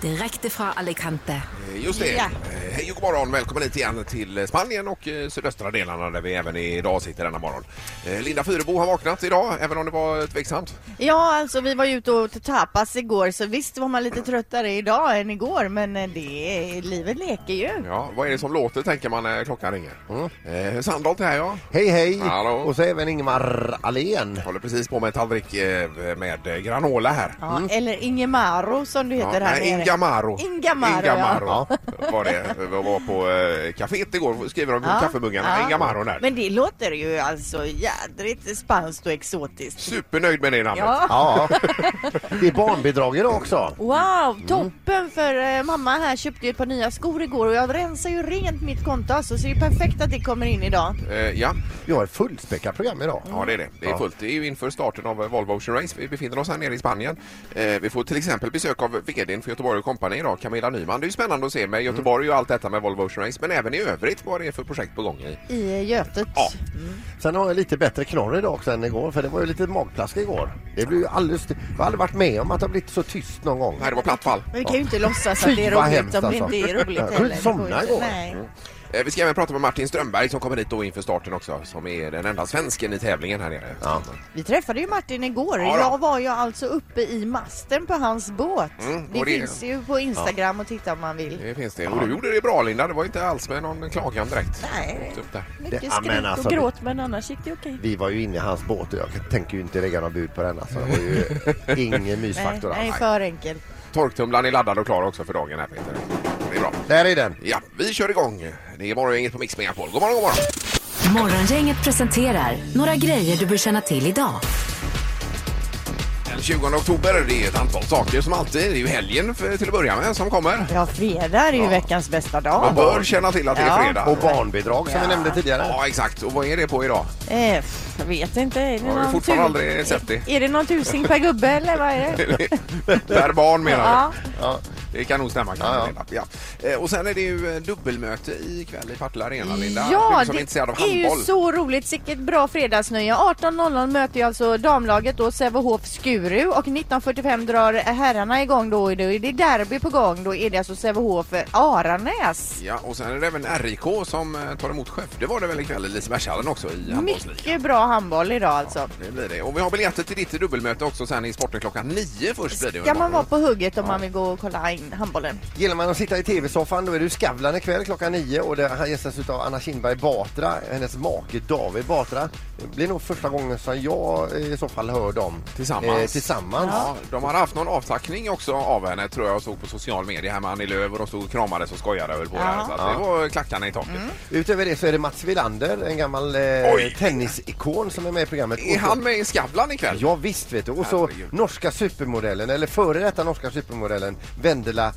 direkt ifrån Alicante. Eh, Just det. Ja. Eh, Hej och god morgon. Välkommen hit igen till Spanien och eh, sydöstra delarna där vi även idag sitter denna morgon. Eh, Linda Fyrebo har vaknat idag, även om det var tveksamt. Ja, alltså vi var ju ute och åt tapas igår så visst var man lite tröttare idag än igår men eh, det, är- livet leker ju. Ja, vad är det som låter tänker man när klockan ringer. Eh, Sandholt här ja. Mm. Hej hej! Hallå. Och så även Ingmar Ahlén. Håller precis på med en tallrik eh, med eh, granola här. Ja, Eller Ingemaro som du heter här nej, nere. Ingamaro. Ingamaro, Ingamaro ja. var det. Vi var på eh, kaféet igår, skriver de på Ja, kaffemuggarna. ja. Ingamaro där. Men det låter ju alltså jädrigt spanskt och exotiskt. Supernöjd med det namnet. Ja. Ja, det är barnbidrag idag också. Mm. Wow, toppen för eh, mamma här köpte ju ett par nya skor igår och jag rensar ju rent mitt konto alltså så det är perfekt att det kommer in idag. Eh, ja. Vi har ett fullspäckat program idag. Ja, det är det. Det är Ja. fullt. Det är ju inför starten av eh, Volvo Ocean Race. Vi befinner oss här nere i Spanien. Eh, vi får till exempel besök av vdn för Göteborg Company idag, Camilla Nyman. Det är ju spännande att se Mm. med Göteborg och allt detta med Volvo Ocean Race, men även i övrigt vad det är för projekt på gång i. I eh, Götet. Ja. Sen har jag lite bättre knorr idag också än igår för det var ju lite magplask igår. Det blev ju alldeles... Jag har aldrig varit med om att det har blivit så tyst någon gång. Nej, det var platt fall. Men vi kan ju inte låtsas Fy, att det är vad roligt hemskt, om det alltså. inte är roligt Jag kunde heller. inte Det somna går ju inte. igår. Nej. Eh, vi ska även prata med Martin Strömberg som kommer hit då inför starten också, som är den enda svensken i tävlingen här nere. Ja. Vi träffade ju Martin igår. Ja, då. jag var ju alltså uppe i masten på hans båt. Mm, och det, det- finns ju på Instagram att titta om man vill. Det finns det. Och du gjorde det bra Linda, det var inte alls med någon klagan direkt. Nej. Upp där. Det- Mycket ja, men skrik alltså, och det- gråt men annars gick det okej. Vi var ju inne i hans båt och jag tänker ju inte lägga någon bud på den alltså. Det var ju ingen Nej, mysfaktor alltså. nej, alls. för enkelt. Torktumlaren är laddad och klar också för dagen här Peter. Det är bra. Där är den. Ja, vi kör igång. Det är morgongänget på Mix Megapol. God morgon, god morgon! Morgongänget presenterar några grejer du bör känna till idag. Den 20 oktober, det är ett antal saker som alltid. Det är ju helgen för, till att börja med som kommer. Ja, fredag är ju veckans bästa Man dag. bör känna till att det är Ja. fredag. Och barnbidrag som vi nämnde tidigare. Ja, exakt. Och vad är det på idag? Eh, pff, jag vet inte. Är det, Jag har ju någon fortfarande tu- aldrig sett det. är det någon tusing per gubbe eller vad är det? per barn menar Ja. du? Ja. Det kan nog stämma. Kan Ja, ja. Linda. ja. Eh, Och sen är det ju eh, dubbelmöte ikväll i Partille Arena, Linda. Ja, du som är det intresserad av är ju handboll. så roligt. Vilket bra fredagsnöje. 18.00 möter ju alltså damlaget då Sävehof Skuru och 19.45 drar herrarna igång då. Det är det derby på gång. Då är det alltså Sävehof Aranäs. Ja, och sen är det även RIK som eh, tar emot Skövde var det väl ikväll i Lisebergshallen också i handbollsligan. Mycket bra handboll idag alltså. Det blir det. Och vi har biljetter till ditt dubbelmöte också sen i sporten klockan nio först blir det. ju Ska man imorgon. vara på hugget om man vill gå och kolla in handbollen? Gillar man att sitta i tv-soffan då är det ju Skavlan ikväll klockan nio och det här gästas utav Anna Kinberg Batra, hennes make David Batra. Det blir nog första gången som jag eh, i så fall hör dem Tillsammans. Eh, tillsammans. Ja, de har haft någon avtackning också av henne tror jag jag såg på social media här med Annie Lööf och de stod och kramades och skojade över på Ja. Mm. det. Så att det var klackarna i taket. Utöver det så är det Mats Wilander, en gammal eh, Oj. tennisikon som är med i programmet. Är Och så- han med i Skavlan ikväll? Ja visst vet du. Och så Herregud. norska supermodellen, eller före detta norska supermodellen Vendela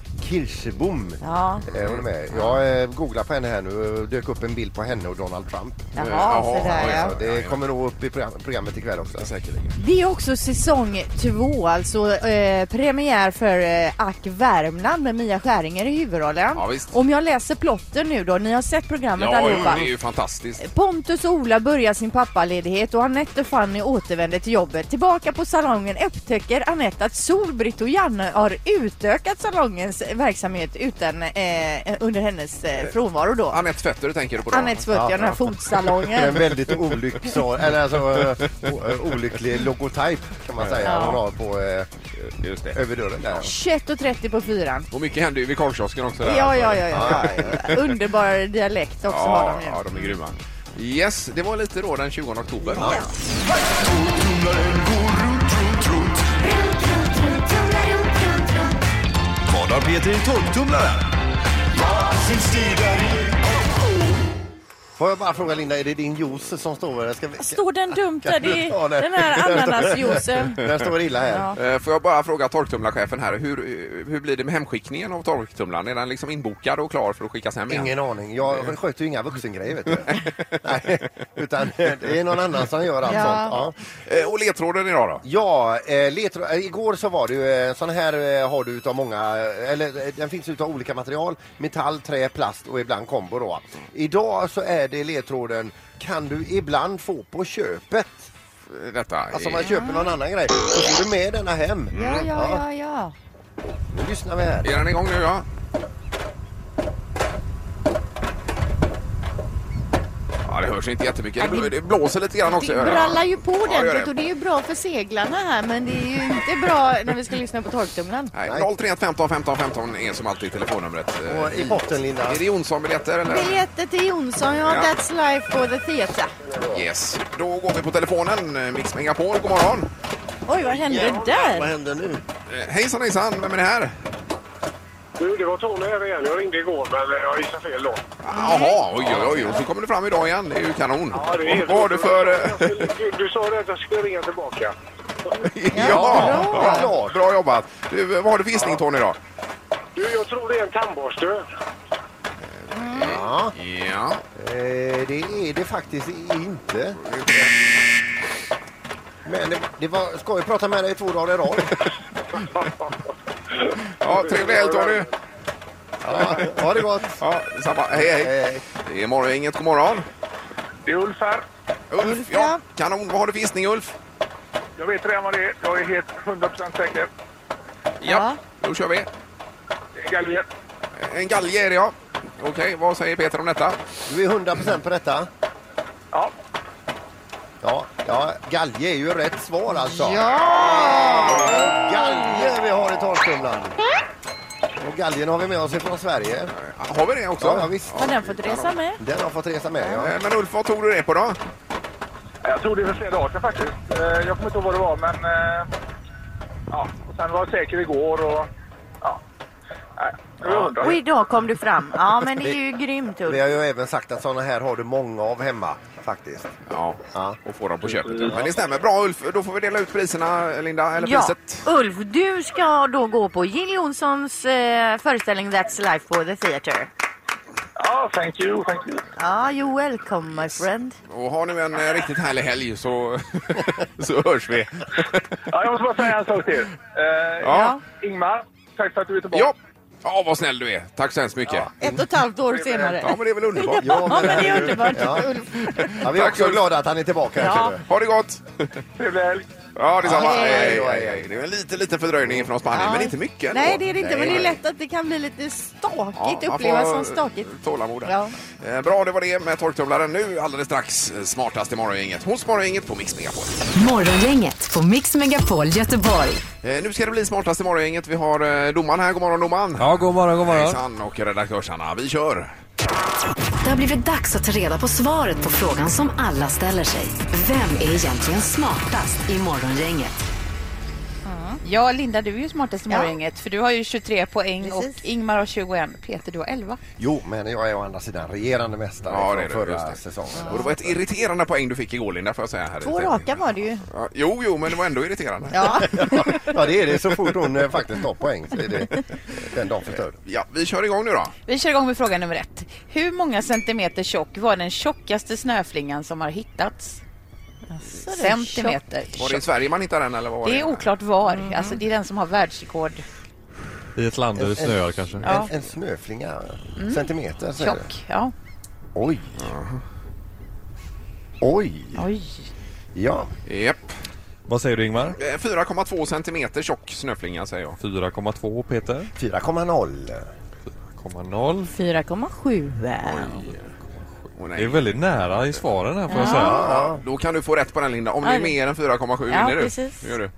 Kirsebom. Ja. Eh, hon är med. Jag eh, googlar på henne här nu och dök upp en bild på henne och Donald Trump. Eh, Jaha, Jaha, så där, oj, ja. oj, oj. Det kommer nog upp i program- programmet ikväll också. Säkerligen. Det är också säsong två, alltså eh, premiär för eh, Ack Värmland med Mia Skäringer i huvudrollen. Ja, visst. Om jag läser plotten nu då, ni har sett programmet Ja, jo, det allihopa. är ju fantastiskt. Eh, Pontus och Ola börjar sin pappaledighet och Anette och Fanny återvänder till jobbet. Tillbaka på salongen upptäcker Anette att Solbritt och Janne har utökat salongens verksamhet utan, eh, under hennes eh, frånvaro då. Anette Fetter tänker du på då? Anette Svört, den här En fotsalongen. väldigt olycks- eller alltså, eh, o- eh, olycklig logotyp kan man säga Ja. Oh, hon har på eh, Just det. över dörren där. 21.30 på fyran. Och mycket händer ju vid korvkiosken också. Där, Ja, alltså. ja, ja, ja. Underbar dialekt också har Ja, de ju. ja, de är grymma. Yes, det var lite då den 20 oktober. Ja. Vad har Peter i torktumlaren? Får jag bara fråga Linda, är det din juice som står där? Ska vi- Alltså, Står den dumt där? Kan du Det ta är den? den här ananasjuicen. Den står illa här. Ja. Eh, Får jag bara fråga torktumlarchefen här, hur, hur blir det med hemskickningen av torktumlaren? Är den liksom inbokad och klar för att skickas hem igen? Ingen aning. Jag sköter ju inga vuxengrejer vet du. Nej, utan eh, det är någon annan som gör allt Ja. sånt. Ja. Eh, Och ledtråden idag då? Ja, eh, letro, eh, igår så var det ju eh, sån här eh, har du utav många, eh, eller eh, den finns utav olika material, metall, trä, plast och ibland kombo då. Idag så är det ledtråden kan du ibland få på köpet. Eh, Detta Alltså är- man köper någon annan grej, så får du med denna hem. Ja, ja, ja, ja. Nu lyssnar vi här. Är den igång nu ja? Ja, det hörs inte jättemycket. Det bl- Det blåser lite grann också. Det hör jag. brallar ju på Ja, det gör ordentligt det. och det är ju bra för seglarna här men det är ju inte bra när vi ska lyssna på torktumlaren. Nej, 031 15 15 15 är som alltid telefonnumret. Eh, Och I botten, Linda. Är det Jonsson-biljetter eller? Biljetter till Jonsson, ja, Ja. That's Life for the Theatre. Yes. Då går vi på telefonen. Eh, Mix Megapol, god morgon. Oj, vad hände Vad där? händer nu? Eh, Hejsan hejsan, vem är det här? Du, det var Tony här igen. Jag ringde igår, men eh, jag gissade fel då. Jaha, oj oj oj, och så kommer du fram idag igen. Det är ju kanon. Ja, det är helt Vad har du för... eh, Jag skulle- Du, du sa det att jag skulle ringa tillbaka. ja, bra. Ja, bra jobbat. Du, eh, vad har du för gissning Tony då? Du, jag tror det är en tandborste. Ja. Eh, det är det faktiskt inte. Men det, det var skoj att prata med dig två dagar i rad. Ja, trevlig helg Tony. Ja, ha det gott. Ja, samma. Hej hej. Eh, Det är morgongänget, god morgon. Det är Ulf här. Ulf, ja. Kanon, vad har du för gissning Ulf? Jag vet redan vad det är. Jag är helt 100% säker. Ja. Då kör vi. Det är galgen. En galge är det ja. Okej, vad säger Peter om detta? du är 100% på detta. Ja. Ja, ja, galge är ju rätt svar alltså. Ja! Galge vi har i torktumlaren. Och galgen har vi med oss ifrån Sverige. Har vi det också? Ja, ja visst. Har den fått resa med? Den har fått resa med. Ja. Eh, Men Ulf, vad tog du det på då? Jag tror det är för flera dagar sedan faktiskt. Eh, Jag kommer inte ihåg vad det var, men... eh, Ja, och sen var jag säker igår och... Ja. Nej, det var hundra. Och idag kom du fram. Ja, men det är ju grymt Vi Ulf. har ju även sagt att sådana här har du många av hemma faktiskt. Ja, Ja. och få dem på köpet. Mm. Men det stämmer. Bra Ulf, då får vi dela ut priserna, Linda, eller Ja, priset. Ulf, du ska då gå på Jill Johnsons eh, föreställning That's Life for the Theatre. Ja, thank you, thank you. Ja, you're welcome my friend. Och ha nu en eh, riktigt härlig helg så, så hörs vi. Ja, jag måste bara säga en sak till. Eh, Ja. Ingmar, tack för att du är tillbaka. ja. ja, vad snäll du är. Tack så hemskt mycket. Ja, Ett och ett halvt år senare. men det är väl underbart. Ja, men det är underbart. Ja. Ja, vi är Tack, också Ulf. glada att han är tillbaka. Ja. Ja. Ha det gott! Trevlig helg. Ja, detsamma. Ja, hej, hej. Hej, hej, hej. Det är en liten, liten fördröjning från Spanien, men inte mycket. ändå. Nej, det är det inte, men det är Nej. lätt att det kan bli lite Ja, stakigt, man upplevas får som stakigt. Tålamod. Ja. Ja. Bra, det var det med torktumlaren. Nu alldeles strax eh, smartast i morgongänget hos Morgongänget på Mix Megapol. Morgongänget på Mix Megapol Göteborg. Eh, Nu ska det bli smartast i morgongänget. Vi har eh, domaren här. God morgon domaren. Ja, god morgon, god morgon. Hejsan och redaktörs-Anna. Vi kör! Det har blivit dags att ta reda på svaret på frågan som alla ställer sig. Vem är egentligen smartast i morgongänget? Ja, Linda, du är ju smartast i morgongänget för du har ju 23 poäng och Ingmar har 21. Peter, du har 11. Jo, men jag är å andra sidan regerande mästare Ja, ja, det är från du, just förra det. säsongen. Och det var ett irriterande poäng du fick igår Linda, får jag säga. Här. Två raka var det ju. Ja, jo, jo, men det var ändå irriterande. Ja. Ja, det är det. Så fort hon eh, faktiskt tar poäng så är det den dagen förstörd. Ja, vi kör igång nu då. Vi kör igång med fråga nummer ett. Hur många centimeter tjock var den tjockaste snöflingan som har hittats? Centimeter. Var det i Sverige man hittade den eller vad var det? Det är oklart var. Alltså, det är den som har världsrekord. I ett land där det snöar kanske. Ja. En, en snöflinga centimeter säger du? Tjock, Mm. ja. Oj. Oj. Oj. Ja. Japp. Vad säger du Ingmar? Eh, 4,2 centimeter tjock snöflinga säger jag. 4,2 Peter. 4,0. 4,0. 4,7. Åh, Det är nej. väldigt nära i svaren här får jag säga. Ja, då kan du få rätt på den Linda. Om det är mer än 4,7 Ja, vinner du. precis. Det Gör du.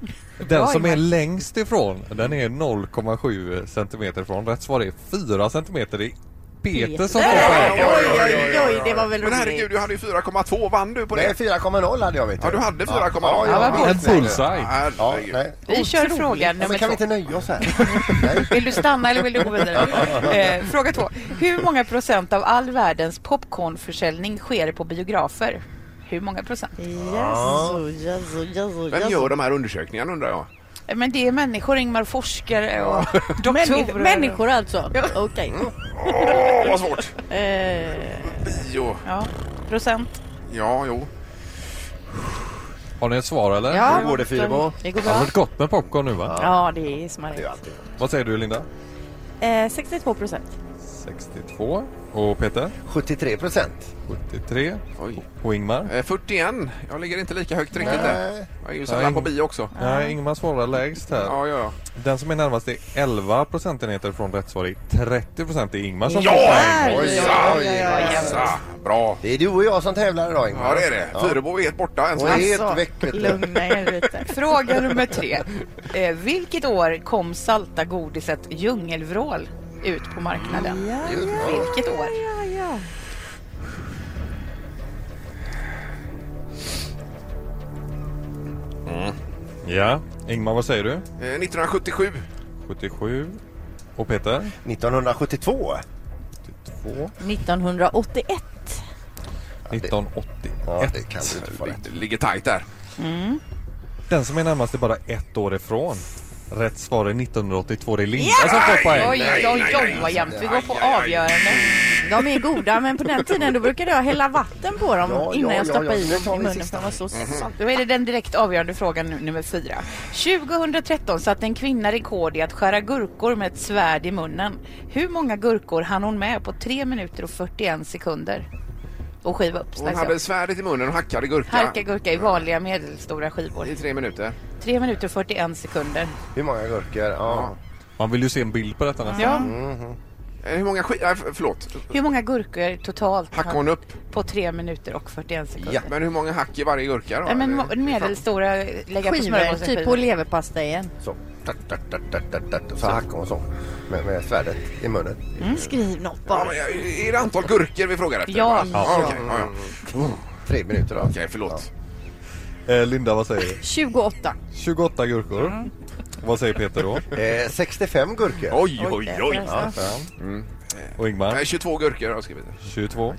Den som är längst ifrån, den är 0,7 centimeter ifrån. Rätt svar är 4 centimeter. Det är Peter som får poäng. Oj, oj, oj, det var väl Men roligt. herregud, du hade ju 4,2 vann du på Nej, det? 4,0 hade jag vet Ja, du hade 4,0. Ja, ja, Ja, ja, En bullseye. Ja, Herregud. nej. Vi kör fråga Ja, nummer men kan vi två. inte nöja oss här? Nej. Vill du stanna eller vill du gå vidare? Eh, fråga två. Hur många procent av all världens popcornförsäljning sker på biografer? Hur många procent? Jaså, jaså, jaså, Vem gör de här undersökningarna undrar jag? Eh, Men det är människor, Ingmar, forskare och doktorer. Människor, människor alltså? Okej. Åh, vad svårt! Eh, Jo, Ja, procent. ja, jo. Har ni ett svar eller? Hur går det Fyrebo? Det går Det har bra. varit gott med popcorn nu va? Ja, det är smarrigt. Vad säger du Linda? Eh, 62 procent. 62. Och Peter? 73 procent. 73. Oj. Och Ingmar? Eh, 41. Jag ligger inte lika högt riktigt Nej. där. Jag är ju sällan på bio också. Nej, Ingmar svarar lägst här. Ja, ja, ja. Den som är närmast är 11 procentenheter från rätt svar. i 30 procent är Ingmar som får Ja! poäng. Oj, oj, oj, oj. Så, bra. Det är du och jag som tävlar idag Ingmar. Ja, det är det. Fyrebo är helt borta än så Och länge. helt väck. vet du. Lugna er lite. Fråga nummer tre. Eh, vilket år kom salta godiset djungelvrål ut på marknaden? Vilket år? Ja, ja. Mm. Ja. Ingmar, vad säger du? Eh, 1977. 77. Och Peter? 1972. 2. 1981. 1980. Ja, det kan du inte få rätt. Det ligger tajt där. Mm. Den som är närmast är bara ett år ifrån. Rätt svar är 1982. Det är Linda som får poäng. Oj, nej, oj, nej, oj, nej. vad jämnt. Vi går på Aj, aj, aj. avgörande. De är goda, men på den tiden då brukade jag hälla vatten på dem Ja, innan ja, jag ja, stoppade ja. i Nu dem tar i vi munnen. sista. Mm-hmm. för Mm. De var så salt. Då är det den direkt avgörande frågan nu- nummer fyra. 2013 satte en kvinna rekord i att skära gurkor med ett svärd i munnen. Hur många gurkor hann hon med på 3 minuter och 41 sekunder? Och skiva upp, Hon slice hade upp. svärdet i munnen och hackade gurka. Harka gurka i vanliga medelstora skivor. I tre minuter. 3 minuter och 41 sekunder. Hur många gurkor? Ja. Mhm. Man vill ju se en bild på detta nästan. Ja. Eh, Hur många skit... Äh, förlåt. Hur många gurkor totalt Hackade hon upp? på 3 minuter och 41 sekunder? Ja. Men hur många hack i varje gurka då? Nej, men mo- Eller- medelstora, lägga på Skivor, smörgåsens typ på leverpasta igen. Så. Tatt, tatt, tatt, tatt, tatt, tatt. Så hackade hon så. Med, med svärdet i munnen. Mm. Skriv något Ja, bara. men eh, är det antal gurkor vi frågar efter? Ja. va? Ja. Okej, ja, ja. Tre minuter då. Okej, förlåt. Eh, Linda, vad säger du? 28. 28 gurkor. Mm. Vad säger Peter då? Eh, 65 gurkor. Oj, oj, oj. Ja. Och Ingmar? Nej, 22 gurkor har jag skrivit. 22.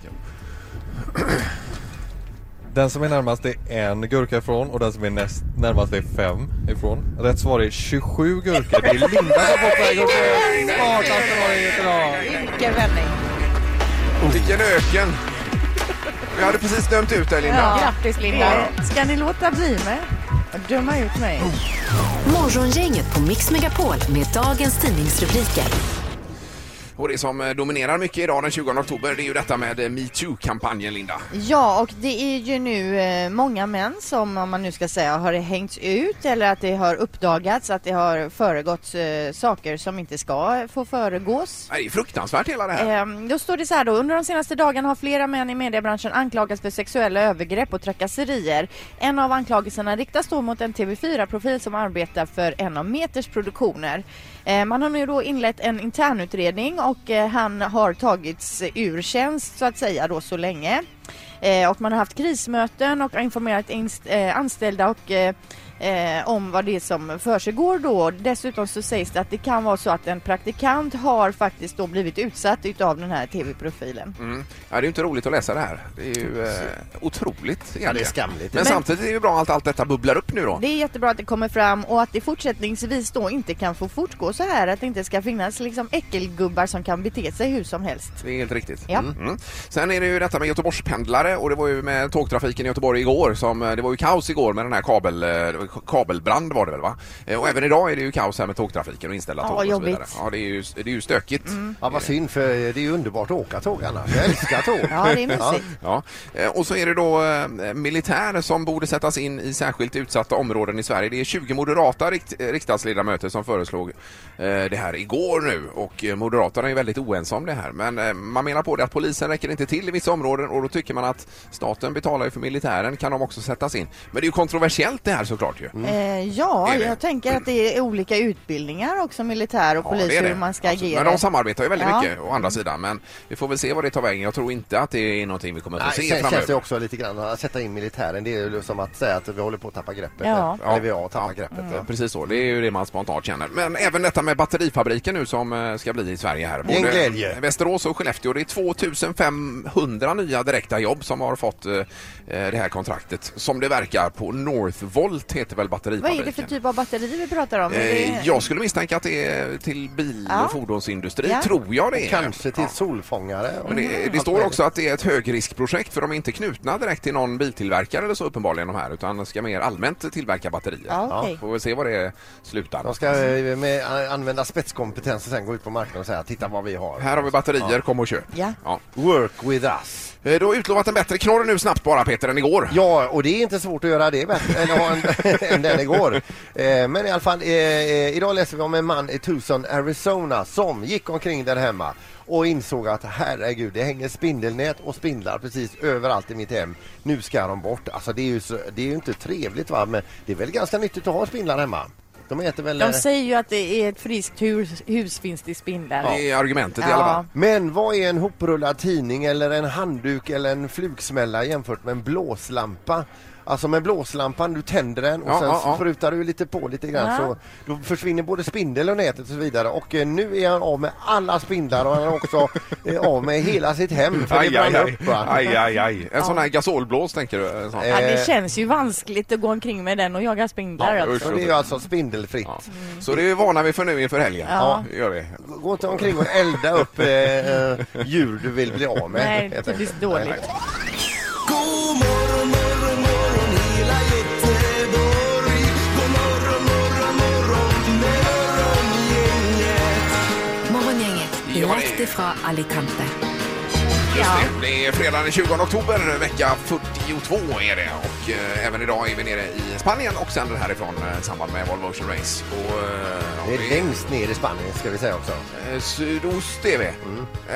Den som är närmast är en gurka ifrån och den som är näst närmast är fem ifrån. Rätt svar är 27 gurkor. Det är Linda som får poäng och alltså, det är smartaste varje dag. Vilken vändning! Vilken öken! Vi hade precis dömt ut dig, Linda. Ja. Grattis Linda! Ska ni låta bli mig? Döma ut mig? Morgongänget på Mix Megapol med dagens tidningsrubriker. Och det som eh, dominerar mycket idag den 20 oktober det är ju detta med eh, metoo-kampanjen, Linda. Ja, och det är ju nu eh, många män som, om man nu ska säga, har hängts ut eller att det har uppdagats att det har föregått eh, saker som inte ska få föregås. Nej, Det är fruktansvärt hela det här. Ehm, Då står det så här då. Under de senaste dagarna har flera män i mediebranschen anklagats för sexuella övergrepp och trakasserier. En av anklagelserna riktas då mot en TV4-profil som arbetar för en av Meters produktioner. Eh, Man har nu då inlett en internutredning och eh, han har tagits ur tjänst så att säga då så länge. Eh, Och man har haft krismöten och har informerat inst- eh, anställda och eh, eh, om vad det är som försiggår då. Dessutom så sägs det att det kan vara så att en praktikant har faktiskt då blivit utsatt utav den här tv-profilen. Mm. Ja, det är ju inte roligt att läsa det här. Det är ju eh, otroligt. det är skamligt. Men, Men- samtidigt är det ju bra att allt detta bubblar upp nu då. Det är jättebra att det kommer fram och att det fortsättningsvis då inte kan få fortgå så här, att det inte ska finnas liksom äckelgubbar som kan bete sig hur som helst. Det är helt riktigt. Ja. Mm. Sen är det ju detta med Göteborgspendlare och det var ju med tågtrafiken i Göteborg igår som eh, det var ju kaos igår med den här kabel, eh, det var kabelbrand var det väl va? Eh, Och även idag är det ju kaos här med tågtrafiken och inställda Ja, tåg och så jobbigt. Mm. vidare. Ja, det är ju, det är ju stökigt. Ja, vad synd för det är ju underbart att åka tåg annars. Jag älskar tåg. Ja, det är mysigt. Ja. Eh, Och så är det då eh, militärer som borde sättas in i särskilt utsatta områden i Sverige. Det är 20 moderata rikt eh, riksdagsledamöter som föreslog eh, det här igår nu och eh, Moderaterna är väldigt oense om det här. Men eh, man menar på det att polisen räcker inte till i vissa områden och då tycker man att staten betalar ju för militären, kan de också sättas in. Men det är ju kontroversiellt det här såklart ju. Eh, Det ja, Mm. är det. jag tänker att det är olika utbildningar också, militär och Ja, polis, det är det. hur man ska Absolut. agera. Men de samarbetar ju väldigt Ja. mycket å andra sidan. Men vi får väl se vad det tar vägen. Jag tror inte att det är någonting vi kommer att få Nej, se sen framöver. känns det också lite grann att sätta in militären. Det är ju som att säga att vi håller på att tappa greppet. Ja. Eller vi har tappat greppet. Ja, Mm. Precis så, det är ju det man spontant känner. Men även detta med batterifabriken nu som eh, ska bli i Sverige här. Det är en glädje. Västerås och Skellefteå. Det är 2500 nya direkta jobb som har fått eh, eh, det här kontraktet. Som det verkar på Northvolt heter heter väl Vad batterifabriken. är det för typ av batteri vi pratar om? Är det- Eh, Jag skulle misstänka att det är till bil Ja. och fordonsindustri, Ja. tror jag det är. Kanske till Ja. solfångare. Men det, det står också att det är ett högriskprojekt för de är inte knutna direkt till någon biltillverkare eller så uppenbarligen de här utan ska mer allmänt tillverka batterier. Ja, okej. Får vi se var det slutar. De ska eh, med, a- använda spetskompetens och sen gå ut på marknaden och säga titta vad vi har. Här har vi batterier, kom och köp. Ja. Work with us. Eh, Du har utlovat en bättre knorr nu snabbt bara Peter än igår. Ja, och det är inte svårt att göra det bättre än, att ha en, än den igår. Eh, men i alla fall, eh, eh, idag läser vi om en man i Tucson, Arizona som gick omkring där hemma och insåg att herregud, det hänger spindelnät och spindlar precis överallt i mitt hem. Nu ska de bort. Alltså det är ju, så, det är ju inte trevligt va, men det är väl ganska nyttigt att ha spindlar hemma. De äter väl... eh, De säger ju att det är ett friskt hus, hus finns det spindlar. Det är argumentet i Ja. alla fall. Men vad är en hoprullad tidning eller en handduk eller en flugsmälla jämfört med en blåslampa? Alltså med blåslampan, du tänder den och Ja, sen ja, ja. sprutar du lite på lite grann Ja. så då försvinner både spindel och nätet och så vidare och eh, nu är han av med alla spindlar och han är också eh, av med hela sitt hem för det Aj, aj, brann aj. upp va? aj, aj, aj. En sån här gasolblås tänker du? En sån. Eh, Ja, det känns ju vanskligt att gå omkring med den och jaga spindlar. Ja, alltså. usch. Och det är ju alltså spindelfritt. Ja. Så det är vi vana vid för nu inför helgen. Ja. Det gör vi. Gå inte omkring och elda upp eh, eh, djur du vill bli av med. Nej, helt enkelt. typiskt dåligt. Nej, nej. God morgon, morgon, morgon hela Göteborg. God morgon, morgon, morgon morgongänget. Morgongänget, Ja, det- direkt ifrån Alicante. Just det. det är fredagen den 20 oktober, vecka 42 är det. Och eh, även idag är vi nere i Spanien och sänder härifrån eh, i samband med Volvo Ocean Race. Och, eh, ja, Det är längst ner i Spanien ska vi säga också. Mm. eh, sydost är vi.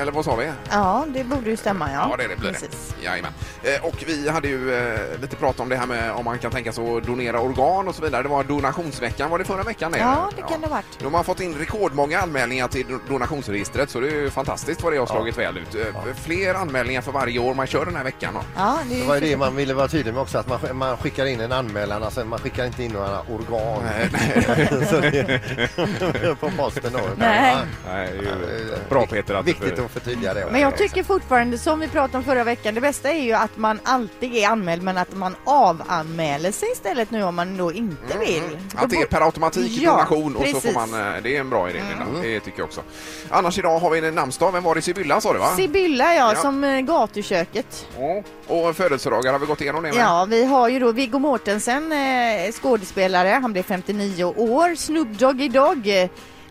Eller vad sa vi? Ja, det borde ju stämma. Ja, Ja, det, är det blir Precis. det. Jajamän. Eh, Och vi hade ju eh, lite prat om det här med om man kan tänka sig att donera organ och så vidare. Det var donationsveckan, var det förra veckan? Ja, det kan det ha varit. Nu har man fått in rekordmånga anmälningar till do- donationsregistret så det är ju fantastiskt vad det har slagit väl ut. Eh, Fler anmälningar för varje år man kör den här veckan. då. Ja, det Det är var ju det man ville vara tydlig med också, att man, sk- man skickar in en anmälan, alltså man skickar inte in några organ. Så det- på posten då. Nej. Eh, Bra Peter att Viktigt att förtydliga det. Men jag tycker fortfarande, som vi pratade om förra veckan, det bästa är ju att man alltid är anmäld men att man avanmäler sig istället nu om man då inte vill. Mm, Mm-hmm. Att det är per automatik Ja, donation och så precis. Mm-hmm. får man, eh, det är en bra idé Linda, det tycker jag också. Annars idag har vi en namnsdag, vem var det? Sibylla sa du va? Sibylla ja, Ja. som eh, gatuköket. Ja. Och födelsedagar har vi gått igenom det med. Ja, vi har ju då Viggo Mortensen, eh, skådespelare, han blev 59 år. Snoop Doggy Dogg,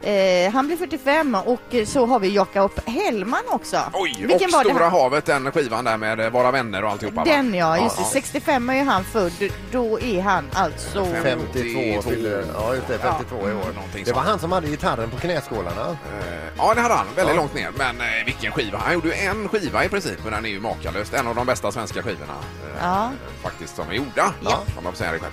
eh, han blev 45 och eh, så har vi Jakob Hellman också. Oj, och var det Stora han- havet, den skivan där med eh, Vara vänner och alltihopa. va? Den ja, just det. Ja, 65 är ju han född. Då är han alltså... 52 fyller, ja just det, 52 i år. Någonting Det var sånt. han som hade gitarren på knäskålarna. Eh, Ja, det hade han. Väldigt långt ner. Men eh, vilken skiva. Han gjorde ju en skiva i princip, men den är ju makalös. En av de bästa svenska skivorna eh, Ja. faktiskt som är gjorda, Ja. kan man säga det själv.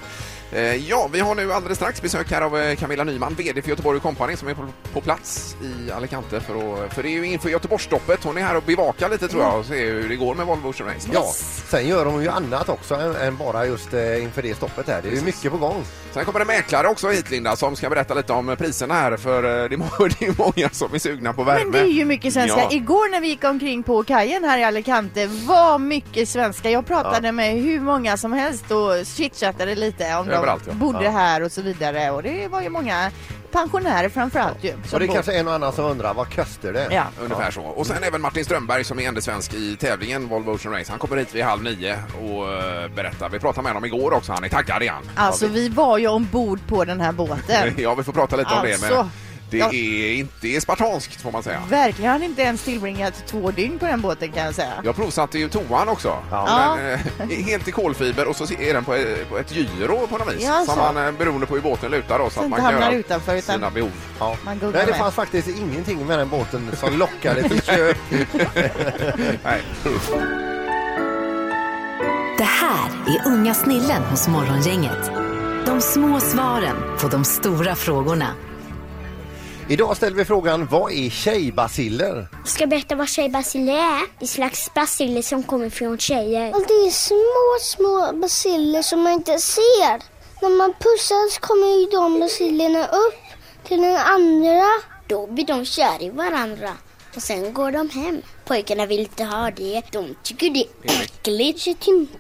Eh, Ja, vi har nu alldeles strax besök här av eh, Camilla Nyman, VD för Göteborg Company som är på, på plats i Alicante för, att, för det är ju inför Göteborgsstoppet. Hon är här och bevakar lite tror Mm. jag och ser hur det går med Volvo Ocean Race. Ja, sen gör hon ju annat också än, än bara just eh, inför det stoppet här. Det är ju mycket på gång. Sen kommer det mäklare också hit Linda som ska berätta lite om priserna här för eh, det är, må- det är många som är sugna på värme. Men det är ju mycket svenska. Ja. Igår när vi gick omkring på kajen här i Alicante var mycket svenska. Jag pratade med hur många som helst och chitchattade lite om Överallt, de ja. bodde Ja. här och så vidare. Och det var ju många pensionärer framförallt ju. Och som det är bor- kanske en och annan som undrar, vad kostar det? Ja. Ungefär så. Och sen även Martin Strömberg som är enda svensk i tävlingen Volvo Ocean Race. Han kommer hit vid halv nio och eh, berättar. Vi pratade med honom igår också. Han är taggad igen. Alltså vi var ju ombord på den här båten. Ja, vi får prata lite om det. Men Alltså, det jag- är inte spartanskt får man säga. Verkligen har inte ens tillbringat två dygn på den båten kan jag säga. Jag provsatte ju toan också. Ja. Men, eh, helt i kolfiber och så är den på, eh, på ett gyro på något vis. Ja, så. som man, eh, beroende på hur båten lutar då, så, Så att inte man kan hamnar göra utanför, utan- sina behov. Ja. Man Nej, googlar det med. fanns faktiskt ingenting med den båten som lockade till köp. Nej. Det här är unga snillen hos Morgongänget. De små svaren på de stora frågorna. Idag ställer vi frågan, vad är tjejbaciller? ska jag berätta vad tjejbaciller är. Det är en slags basiller som kommer från tjejer. Och det är små, små basiller som man inte ser. När man pussar så kommer ju de basillerna upp till den andra. Då blir de kära i varandra. Och sen går de hem. Pojkarna vill inte ha det. De tycker det är äckligt. Sitt inte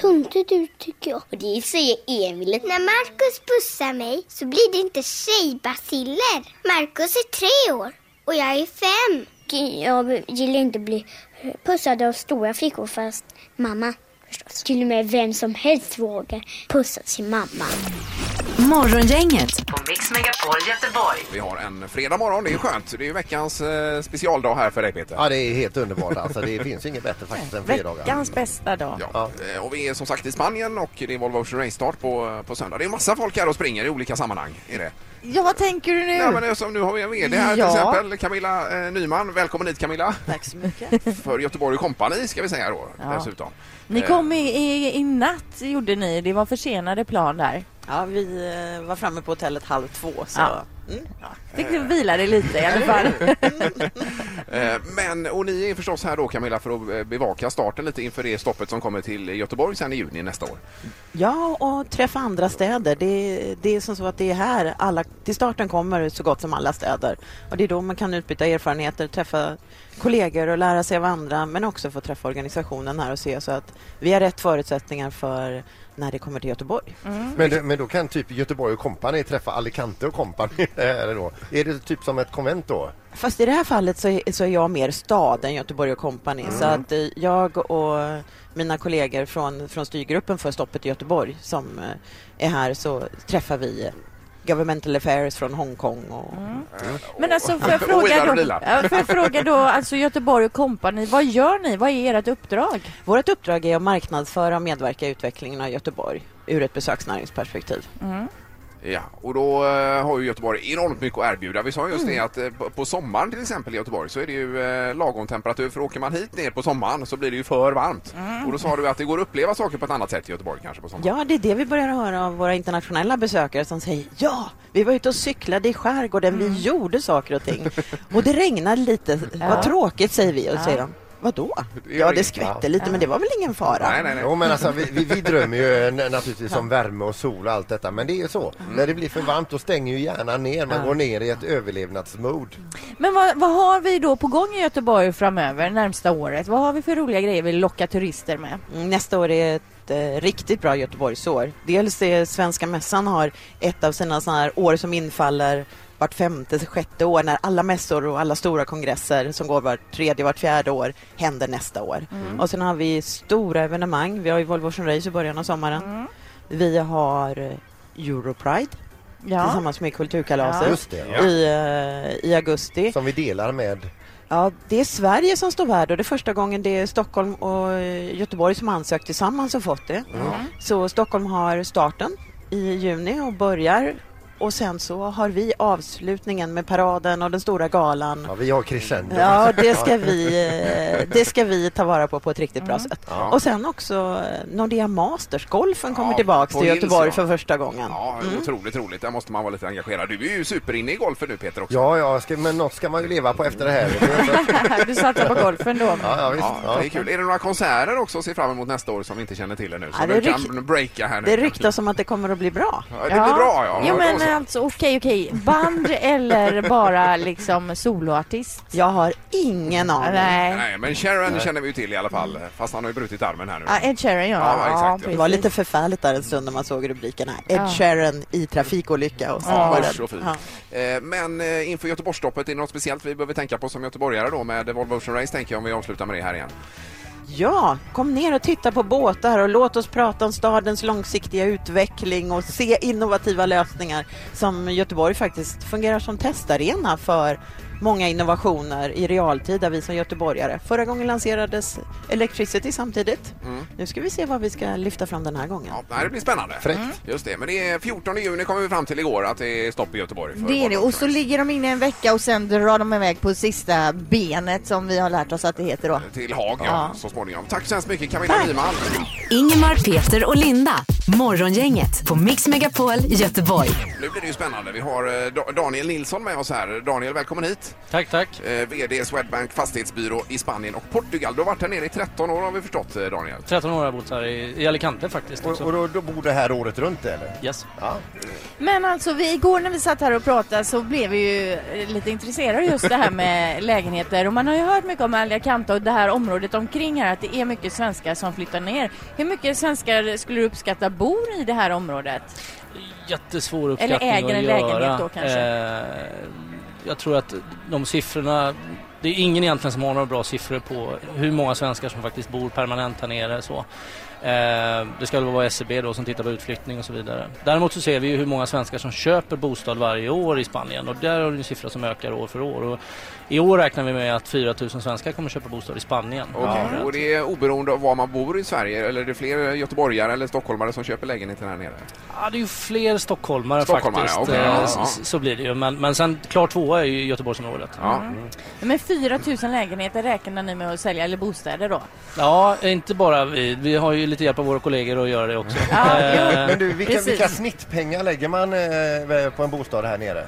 tuntigt ut tycker jag. Och det säger Emil. När Markus pussar mig så blir det inte tjejbaciller. Markus är tre år och jag är fem. Jag gillar inte att bli pussad av stora flickor fast mamma förstås. Till och med vem som helst vågar pussa sin mamma. Morgongänget På Mix Megapol Göteborg. Vi har en fredag morgon, det är skönt. Det är ju veckans eh, specialdag här för dig Peter. Ja, det är helt underbart. Alltså, det finns inget bättre faktiskt än fredagar. Veckans bästa dag. Ja. eh, Och vi är som sagt i Spanien och det är Volvo Ocean Race-start på, eh, på söndag. Det är massa folk här och springer i olika sammanhang. Är det? Ja, vad tänker du nu? Ja, men det är som nu har vi en VD här Ja. till exempel, Camilla eh, Nyman. Välkommen hit Camilla. Tack så mycket. För Göteborg Company ska vi säga då Ja. dessutom. Ni Eh, kom i, i, i natt, gjorde ni. Det var försenade plan där. Ja, vi eh, var framme på hotellet halv två. Så. Ja. Mm. Fick ni vila dig lite i alla fall. Eh, Men, och ni är förstås här då Camilla för att eh, bevaka starten lite inför det stoppet som kommer till Göteborg sen i juni nästa år. Ja, och träffa andra städer. Det, det är som så att det är här alla, till starten kommer så gott som alla städer. Och det är då man kan utbyta erfarenheter, träffa kollegor och lära sig av andra, men också få träffa organisationen här och se så att vi har rätt förutsättningar för när det kommer till Göteborg. Men, det- men då kan typ Göteborg och Company träffa Alicante och Company här då. Är det typ som ett konvent då? Fast i det här fallet så är, så är jag mer stad än Göteborg och Company. Så Mm. att eh, jag och mina kollegor från, från styrgruppen för stoppet i Göteborg som eh, är här så träffar vi eh, Governmental Affairs från Hongkong och... Mm. Men alltså, får jag Och fråga gillar då, att vila. ja, får jag fråga då alltså Göteborg och Company, vad gör ni? Vad är ert uppdrag? Vårt uppdrag är att marknadsföra och medverka i utvecklingen av Göteborg ur ett besöksnäringsperspektiv. Mm. Ja, och då eh, har ju Göteborg enormt mycket att erbjuda. Vi sa just Mm. det att eh, på- på sommaren till exempel i Göteborg så är det ju eh, lagom temperatur för åker man hit ner på sommaren så blir det ju för varmt. Mm. Och då sa du att det går att uppleva saker på ett annat sätt i Göteborg kanske på sommaren. Ja, det är det vi börjar höra av våra internationella besökare som säger ja, vi var ute och cyklade i skärgården, Mm. vi gjorde saker och ting. Och det regnade lite, Ja. vad tråkigt säger vi och Ja. säger de. Vadå? är Ja, det inget. skvätte lite men det var väl ingen fara? Jo, men alltså, vi, vi, vi drömmer ju eh, n- naturligtvis om värme och sol och allt detta men det är ju så. När det blir för varmt då stänger ju hjärnan ner. Man Ja. går ner i ett överlevnadsmode. Men vad, vad har vi då på gång i Göteborg framöver, närmsta året? Vad har vi för roliga grejer vi lockar turister med? Mm, Nästa år är ett eh, riktigt bra Göteborgsår. Dels är Svenska mässan har ett av sina såna här år som infaller vart femte, sjätte år när alla mässor och alla stora kongresser som går vart tredje, vart fjärde år händer nästa år. Mm. Och sen har vi stora evenemang. Vi har ju Volvo Ocean Race i början av sommaren. Mm. Vi har eh, Europride Ja. tillsammans med Kulturkalaset Ja. Just det, ja. i, eh, i augusti. Som vi delar med Ja, det är Sverige som står värd och det är första gången det är Stockholm och eh, Göteborg som har ansökt tillsammans och fått det. Mm. Så Stockholm har starten i juni och börjar och sen så har vi avslutningen med paraden och den stora galan. Ja, vi har crescendo. Ja, det ska vi, eh, det ska vi ta vara på på ett riktigt Mm. bra sätt. Ja. Och sen också eh, Nordea Masters, golfen kommer Ja, tillbaks på till Hills, Göteborg ja. för första gången. Mm. Ja, otroligt roligt. Där måste man vara lite engagerad. Du är ju superinne i golfen nu Peter också. Ja, ja, ska, men något ska man ju leva på efter det här. Du satsar på golfen då? Ja, ja, visst. Ja. Det är kul. Är det några konserter också att se fram emot nästa år som vi inte känner till ännu? Som Ja, det du rykt- kan breaka här nu. Det ryktas om att det kommer att bli bra. Ja, det blir bra ja. Jo Då men så. alltså okej okej, band eller bara liksom soloartist? Jag har ingen aning. Nej. Nej, men Sharon Nej. känner vi ju till i alla fall. Fast han har ju brutit armen här nu. Ja, Ed Sheeran ja. Ja, exakt, ja. det var lite förfärligt där en stund när man såg rubrikerna. Ed Ja. Sheeran i trafikolycka. Och så Ja, var det- usch och fy. Ja. Eh, Men eh, inför Göteborgsstoppet, är det något speciellt vi behöver tänka på som göteborgare då med Volvo Ocean Race tänker jag om vi avslutar med det här igen? ja, kom ner och titta på båtar och låt oss prata om stadens långsiktiga utveckling och se innovativa lösningar som Göteborg faktiskt fungerar som testarena för många innovationer i realtid där vi som göteborgare. Förra gången lanserades Electricity samtidigt. Nu ska vi se vad vi ska lyfta fram den här gången. Mm. Det här blir spännande. Fräckt. Just det, men det är 14 juni kommer vi fram till igår att det är stopp i Göteborg. För Det är det. Volvo Och Ocean så Race. ligger de inne en vecka och sen drar de iväg på sista benet som vi har lärt oss att det heter då. Till Haag, ja, Ja. så småningom. Tack så hemskt mycket Camilla Nyman. Ingemar, Peter och Linda Morgongänget på Mix Megapol Göteborg. Nu blir det ju spännande. Vi har eh, Da- Daniel Nilsson med oss här. Daniel, välkommen hit. Tack, tack. VD Swedbank Fastighetsbyrå i Spanien och Portugal. Du har varit här nere i 13 år har vi förstått, eh, Daniel. 13 år har jag bott här i, i Alicante faktiskt. Och, och då, då bor du här året runt eller? Yes. Ja. Men alltså vi, igår när vi satt här och pratade så blev vi ju eh, lite intresserade just det här med lägenheter och man har ju hört mycket om Alicante och det här området omkring här att det är mycket svenskar som flyttar ner. Hur mycket svenskar skulle du uppskatta bor i det här området? Jättesvår Eller uppskattning äger att en göra. lägenhet då kanske? Eh, jag tror att de siffrorna... Det är ingen egentligen som har några bra siffror på hur många svenskar som faktiskt bor permanent här nere. Så. Eh, det ska väl vara SCB då som tittar på utflyttning och så vidare. Däremot så ser vi ju hur många svenskar som köper bostad varje år i Spanien och där har vi en siffra som ökar år för år. Och I år räknar vi med att 4 000 svenskar kommer köpa bostad i Spanien. Okej, Och det är oberoende av var man bor i Sverige eller är det fler göteborgare eller stockholmare som köper lägenheten här nere? Ja, det är ju fler stockholmare, Stockholmare, faktiskt. okej, Eh, ja, s- ja. s- Så blir det ju. Men, men sen klart tvåa är ju Göteborgsområdet. Ja. Mm. Men 4 000 lägenheter räknar ni med att sälja, eller bostäder då? ja, inte bara vi. Vi har ju lite hjälp av våra kollegor att göra det också. Eh, Men du, vilka, Precis. vilka snittpengar lägger man eh, på en bostad här nere?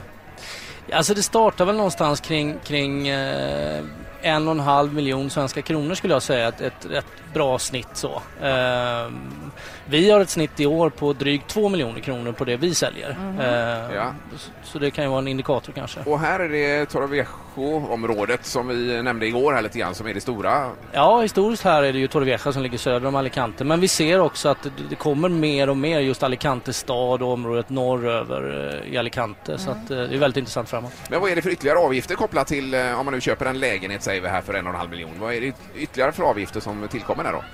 Alltså det startar väl någonstans kring, kring eh, en och en halv miljon svenska kronor skulle jag säga. Ett, ett rätt bra snitt så. Eh, vi har ett snitt i år på drygt två miljoner kronor på det vi säljer. Mm. Mhm. Eh, Ja. så, så det kan ju vara en indikator kanske. Och här är det Torreviejo-området som vi nämnde igår här lite grann som är det stora. Ja, historiskt här är det ju Torrevieja som ligger söder om Alicante. Men vi ser också att det, det kommer mer och mer just Alicante stad och området norröver eh, i Alicante. Så att, eh, det är väldigt intressant framåt. Men vad är det för ytterligare avgifter kopplat till eh, om man nu köper en lägenhet säger vi här för en och en halv miljon. Vad är det ytterligare för avgifter som tillkommer där då?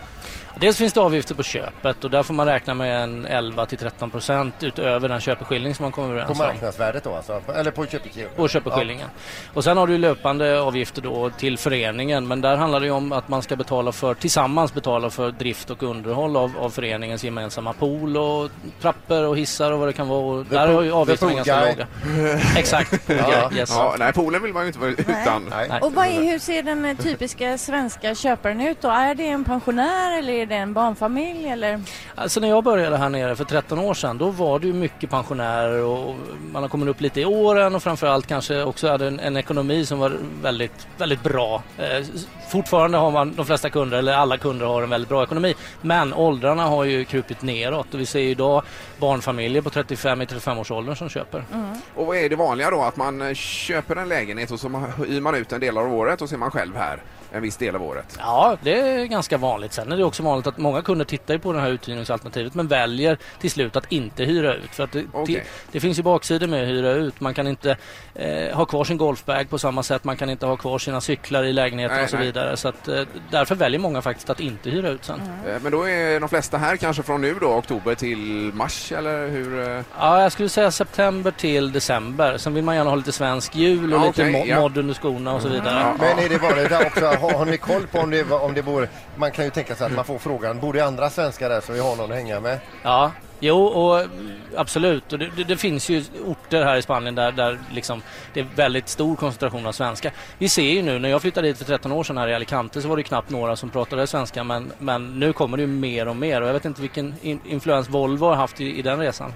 Dels finns det avgifter på köpet och där får man räkna med en 11 till 13 procent utöver den köpeskilling som man kommer På överens om. marknadsvärdet då alltså? Eller på köpeskillingen? På köpeskillingen. Och sen har du löpande avgifter då till föreningen men där handlar det ju om att man ska betala för, tillsammans betala för drift och underhåll av, av föreningens gemensamma pool och trappor och hissar och vad det kan vara. Och där pool- har ju the avgifterna pool ganska guy. låga. Exakt, pool Ja. guy, yes. Ja, nej, poolen vill man ju inte vara utan. Och vad är, hur ser den eh, typiska svenska köparen ut då? Är det en pensionär eller är det en barnfamilj eller? Alltså när jag började här nere för 13 år sedan då var det ju mycket pensionärer och man har kommit upp lite i åren och framförallt kanske också hade en, en ekonomi som var väldigt, väldigt bra. Eh, s- fortfarande har man de flesta kunder, eller alla kunder har en väldigt bra ekonomi men åldrarna har ju krupit neråt och vi ser ju idag barnfamiljer på 35 i 35-årsåldern som köper. Mm. Och vad är det vanliga då? Att man eh, köper en lägenhet och så man- hyr man ut en del av året och så är man själv här en viss del av året. Ja, det är ganska vanligt. Sen är det också vanligt att många kunder tittar ju på det här uthyrningsalternativet men väljer till slut att inte hyra ut. För att det, det, det finns ju baksidor med att hyra ut. Man kan inte eh, ha kvar sin golfbag på samma sätt. Man kan inte ha kvar sina cyklar i lägenheten Nej, och så nej. vidare. Så att, eh, därför väljer många faktiskt att inte hyra ut sen. Eh, Men då är de flesta här kanske från nu då, oktober till mars eller hur? eh? Ja, jag skulle säga september till december. Sen vill man gärna ha lite svensk jul och Ja, lite okej, mo- ja. Mm. modd under skorna och så vidare. Men är det vanligt att också, har, har ni koll på om det, om det bor, man kan ju tänka sig att man får frågan, bor det andra svenskar där så vi har någon att hänga med? Ja, jo och mm, absolut. Och det, det, det finns ju orter här i Spanien där, där liksom det är väldigt stor koncentration av svenska. Vi ser ju nu, när jag flyttade hit för 13 år sedan här i Alicante så var det ju knappt några som pratade svenska men, men nu kommer det ju mer och mer och jag vet inte vilken in, influens Volvo har haft i, i den resan.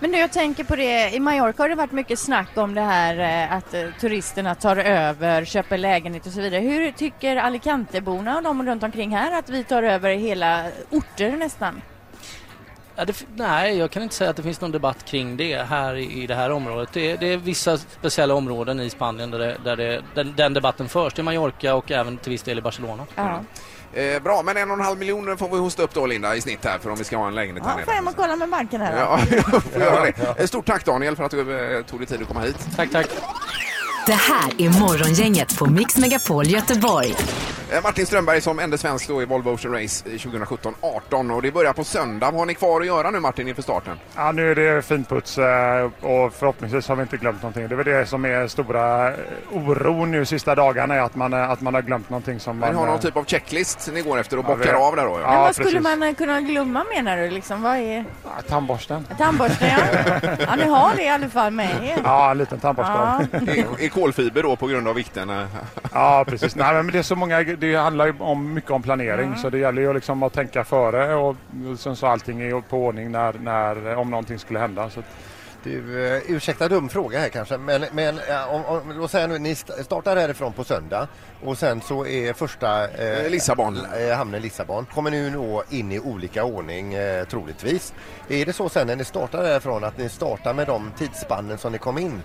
Men du, jag tänker på det, i Mallorca har det varit mycket snack om det här eh, att eh, turisterna tar över, köper lägenhet och så vidare. Hur tycker Alicanteborna och de runt omkring här att vi tar över hela orter nästan? Ja, det, f- nej, jag kan inte säga att det finns någon debatt kring det här i, i det här området. Det, det är vissa speciella områden i Spanien där, det, där det, den, den debatten förs. Det är Mallorca och även till viss del i Barcelona. Eh, bra, men en och en halv miljon får vi hosta upp då Linda i snitt här för om vi ska ha en lägenhet här Ja, får nere. jag hem och kolla med banken här då? Ja, jag får göra det. Eh, Stort tack Daniel för att du eh, tog dig tid att komma hit. Tack, tack. Det här är Morgongänget på Mix Megapol Göteborg. Eh, Martin Strömberg som enda svensk då i Volvo Ocean Race 2017-18 och det börjar på söndag. Vad har ni kvar att göra nu Martin inför starten? Ja, nu är det finputs eh, och förhoppningsvis har vi inte glömt någonting. Det är väl det som är stora eh, oron nu sista dagarna, är att man, eh, att man har glömt någonting som Men man... ni har eh, någon typ av checklist ni går efter och Ja, bockar vi- av där då? Ja, Men vad skulle precis. man eh, kunna glömma menar du liksom? Vad är eh, Tandborsten. tandborsten? Ja, ja ni har det i alla fall med er. Ja, en liten tandborste. Ja. I, I kolfiber då på grund av vikten? eh. Ja, precis. Nej, men det är så många det handlar ju om, mycket om planering Mm. så det gäller ju liksom att tänka före och och sen så allting är ju på ordning när, när, om någonting skulle hända. Så att, Du, eh, ursäkta dum fråga här kanske, men, men eh, om, om, låt säga nu, ni st- startar härifrån på söndag och sen så är första Eh, Lissabon. eh, hamnen Lissabon. Kommer ni nå in i olika ordning eh, troligtvis. Är det så sen när ni startar härifrån att ni startar med de tidsspannen som ni kom in?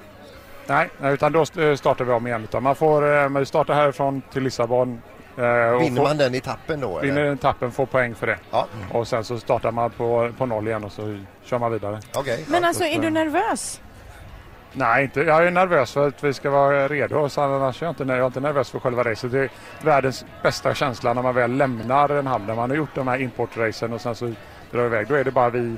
nej, nej, utan då st- eh, startar vi om igen. Utan man får eh, man startar härifrån till Lissabon. eh, och Vinner får- man den etappen då? Vinner Eller? den tappen får poäng för det. Mm. Och sen så startar man på, på noll igen och så kör man vidare. Men Ja, alltså, så att, är du eh, nervös? Nej, inte. jag är nervös för att vi ska vara redo. Så annars är jag, inte, jag är inte nervös för själva racet. Det är världens bästa känsla när man väl lämnar en hamn. När man har gjort de här importracen och sen så drar vi iväg. Då är det bara vi,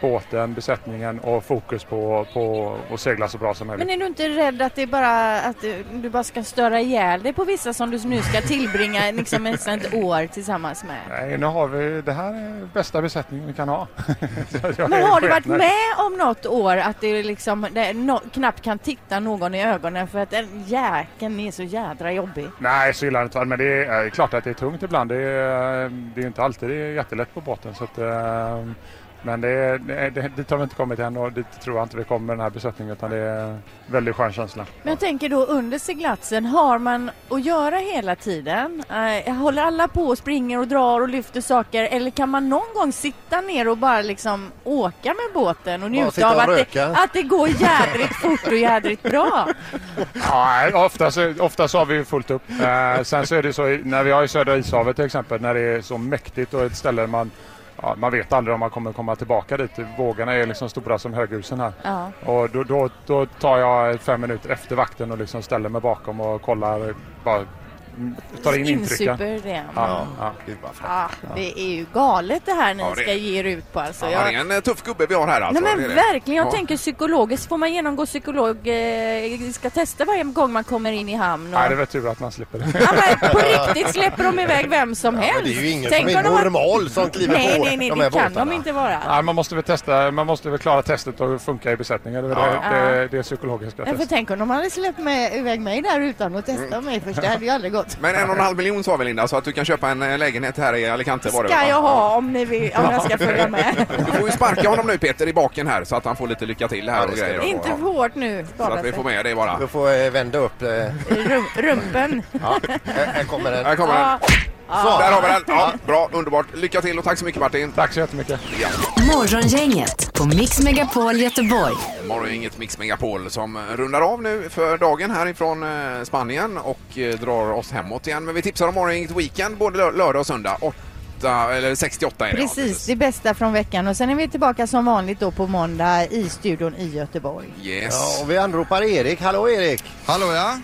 båten, besättningen och fokus på, på att segla så bra som möjligt. Men är du inte rädd att, det är bara, att du- du bara ska störa ihjäl dig på vissa som du nu ska tillbringa liksom nästan ett år tillsammans med? Nej, nu har vi, det här är bästa besättningen vi kan ha. Så jag Men är har du varit skitnöjd. med om något år att du liksom det, är no, knappt kan titta någon i ögonen för att den jäkeln är så jädra jobbig? Nej, så illa har det inte varit. Men det är eh, klart att det är tungt ibland. Det är, eh, det är inte alltid det är jättelätt på båten. Så att, eh, men det är, det, det, dit har vi inte kommit än och dit tror jag inte vi kommer med den här besättningen. Utan det är en väldigt skön känsla. Men jag tänker då under seglatsen, har man att göra hela tiden? Eh, håller alla på och springer och drar och lyfter saker eller kan man någon gång sitta ner och bara liksom åka med båten och sitta njuta av och att det, röka. att det går jädrigt fort och jädrigt bra? Ja, oftast, oftast har vi ju fullt upp. Eh, sen så är det så i- när vi har i Södra ishavet till exempel när det är så mäktigt och ett ställe där man Ja, man vet aldrig om man kommer komma tillbaka dit. Vågorna är liksom stora som höghusen här. Ja. Och då, då, då tar jag fem minuter efter vakten och liksom ställer mig bakom och kollar. Bara, mm, tar in intrycken. Insuper det. Ja, ja. Ah, det är ju galet det här ni Ja, det- ska ge er ut på alltså. Ja, Jag- det är en eh, tuff gubbe vi har här alltså. Nej det är men det. verkligen, jag Ja. tänker psykologiskt. Får man genomgå psykologiska tester varje gång man kommer in i hamn? Och... Nej, det är väl tur att man slipper det. På riktigt släpper de iväg vem som helst. det är ju ingen Tänk som är om de har- normal som kliver nej, på Nej, nej, de det här kan de båtarna. inte vara. Nej, man måste väl testa, man måste väl klara testet och funka i besättningen. Det är väl Ja. det, Ja. det, det är psykologiska Men för testet. tänk om de hade släppt mig, iväg mig där utan att testa mig först. Det hade ju aldrig gått. Mm. Men en och en halv miljon sa vi Linda, så att du kan köpa en eh, lägenhet här i Alicante var det Ska va? jag ha om, ni vill, om jag ska följa med. Du får ju sparka honom nu Peter i baken här så att han får lite lycka till här och grejer. Inte Ja. hårt nu, Så bara att vi sig. får med det bara. Du får eh, vända upp. Eh, Rum, rumpen. ja, här, här kommer den. Här kommer den. Ja. Där har vi den! Ja, bra, underbart. Lycka till och tack så mycket Martin. Tack så jättemycket. Ja. Morgongänget på Mix Megapol Göteborg. Morgongänget Mix Megapol som rundar av nu för dagen härifrån eh, Spanien och eh, drar oss hemåt igen. Men vi tipsar om Morgongänget Weekend både lö- lördag och söndag. 8, eller 68 är det. ja. Precis, det bästa från veckan. Och sen är vi tillbaka som vanligt då på måndag i studion i Göteborg. Yes. Ja, och vi anropar Erik. Hallå Erik! Hallå ja!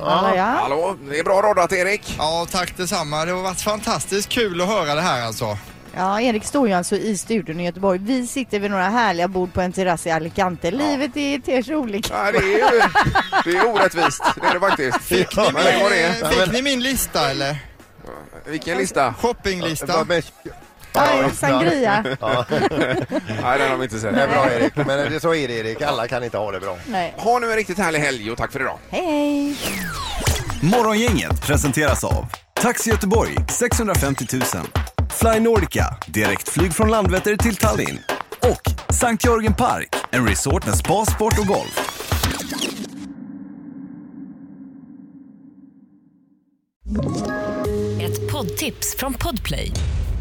Hallå, ja. Hallå, det är bra roddat Erik. Ja, tack detsamma. Det har varit fantastiskt kul att höra det här alltså. Ja, Erik står ju alltså i studion i Göteborg. Vi sitter vid några härliga bord på en terrass i Alicante. Livet är ter sig olika. Ja, det är ju det är orättvist. Det är det faktiskt. Fick ni, men, det var det. Eh, Fick ni min lista eller? Vilken lista? Shoppinglista. Ja, sangria. Ja. Nej, den har vi inte sett. Det är bra Erik, men det, så är det Erik. Alla kan inte ha det bra. Nej. Ha nu en riktigt härlig helg och tack för idag. Hej, hej! Morgongänget presenteras av Taxi Göteborg 650 000 Fly Nordica, direktflyg från Landvetter till Tallinn och Sankt Jörgen Park, en resort med spa, sport och golf. Ett poddtips från Podplay.